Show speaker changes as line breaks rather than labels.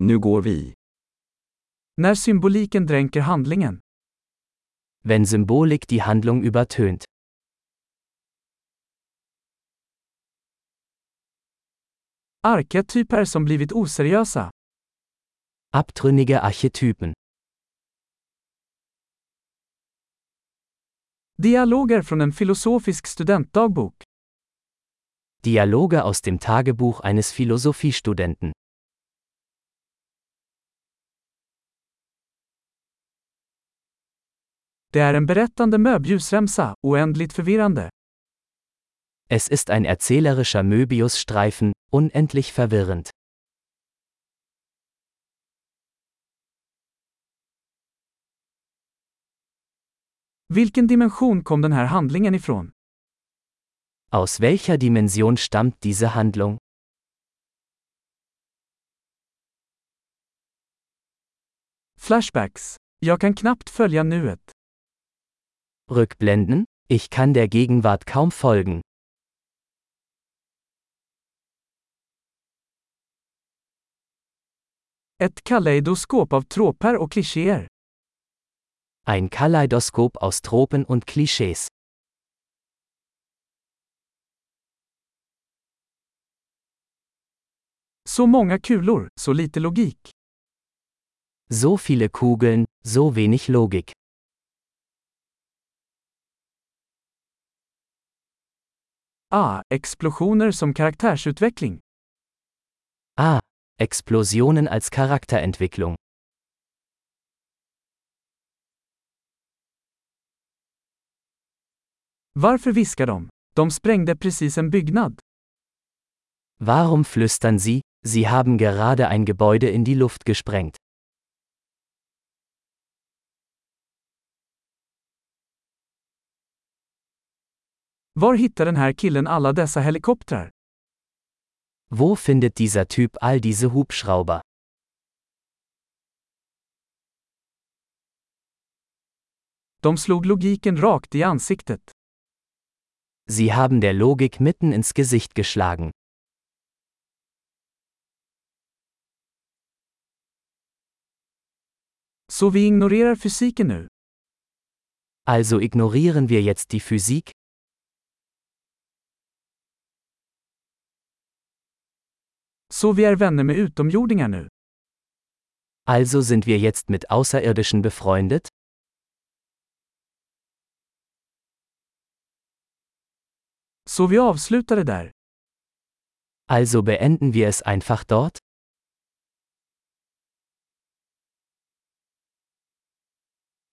Nu går vi.
När symboliken dränker handlingen.
Wenn Symbolik die Handlung übertönt.
Arketyper som blivit oseriösa.
Abtrünnige Archetypen.
Dialoger från en filosofisk studentdagbok.
Dialoge aus dem Tagebuch eines Philosophiestudenten.
Det är en berättande möbljusremsa, oändligt förvirrande.
Es ist ein erzählerischer Möbiusstreifen, unendlich verwirrend.
Vilken dimension kom den här handlingen ifrån?
Aus welcher Dimension stammt diese Handlung?
Flashbacks. Jag kan knappt följa nuet.
Rückblenden? Ich kann der Gegenwart kaum folgen.
Ett kaleidoskop av tråper och klichéer.
Ein Kaleidoskop aus Tropen und Klischees.
Så många kulor, så lite logik.
So viele Kugeln, so wenig Logik.
Ah, explosioner som karaktärsutveckling.
Ah, Explosionen als Charakterentwicklung.
Varför viskar de? De sprängde precis en byggnad.
Warum flüstern Sie? Sie haben gerade ein Gebäude in die Luft gesprengt.
Var hittar den här killen alla dessa helikoptrar?
Wo findet dieser Typ all diese Hubschrauber?
De slog logiken rakt i ansiktet.
Sie haben der Logik mitten ins Gesicht geschlagen.
Så vi ignorerar fysiken nu.
Also ignorieren wir jetzt die Physik?
Så vi är vänner med utomjordingar nu.
Also sind wir jetzt mit Außerirdischen befreundet?
Så vi avslutar det där.
Also beenden wir es einfach dort?